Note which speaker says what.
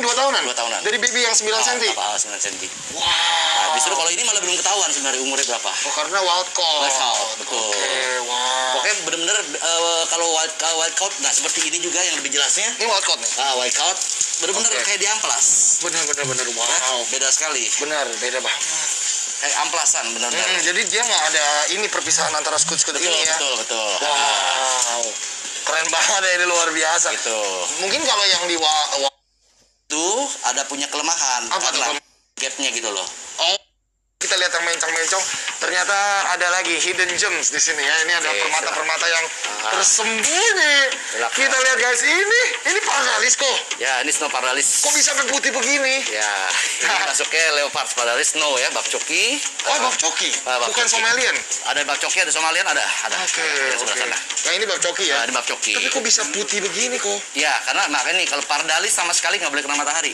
Speaker 1: tahunan. Ah,
Speaker 2: Dua tahunan.
Speaker 1: Dari baby yang 9 cm.
Speaker 2: Kapal 9 cm.
Speaker 1: Wow.
Speaker 2: Nah, justru kalau ini malah belum ketahuan sebenarnya umurnya berapa.
Speaker 1: Oh, karena wild caught.
Speaker 2: Wild caught, betul.
Speaker 1: Oke, wow.
Speaker 2: Pokoknya benar-benar eh, kalau wild, eh, wild caught nggak seperti ini juga yang lebih jelasnya.
Speaker 1: Ini wild caught nih.
Speaker 2: Ah, wild caught benar-benar
Speaker 1: Oke.
Speaker 2: kayak di amplas. ya.
Speaker 1: Bener bener bener wow.
Speaker 2: Beda sekali.
Speaker 1: Bener, beda banget.
Speaker 2: Kayak amplasan benar-benar.
Speaker 1: Hmm, jadi dia nggak ada ini perpisahan antara scoot-scoot
Speaker 2: Betul,
Speaker 1: ini ya.
Speaker 2: betul, betul.
Speaker 1: Wow. Keren banget ya, ini luar biasa.
Speaker 2: Itu.
Speaker 1: Mungkin kalau yang di wa, wa-
Speaker 2: Gitu. Itu ada punya kelemahan
Speaker 1: Apa tuh,
Speaker 2: karena gapnya gitu loh.
Speaker 1: oh, kita lihat yang mencong-mencong, ternyata ada lagi hidden gems di sini ya. Ini ada
Speaker 2: Oke,
Speaker 1: permata-permata yang tersembunyi.
Speaker 2: Silakan.
Speaker 1: Kita lihat guys, ini ini paralis kok.
Speaker 2: Ya, ini snow paralis.
Speaker 1: Kok bisa sampai putih begini?
Speaker 2: Ya, ini masuknya leopard paralis snow ya, bakcoki.
Speaker 1: Oh, bab coki,
Speaker 2: Ah, bab
Speaker 1: bukan
Speaker 2: coki.
Speaker 1: Somalian.
Speaker 2: Ada bakcoki, ada somalian, ada, ada.
Speaker 1: Oke,
Speaker 2: Ada
Speaker 1: oke.
Speaker 2: sebelah sana.
Speaker 1: Nah ini bab coki ya.
Speaker 2: Ada bakcoki.
Speaker 1: Tapi kok bisa putih begini kok?
Speaker 2: Iya, nah, Ya, karena makanya nih kalau pardalis sama sekali nggak boleh kena matahari.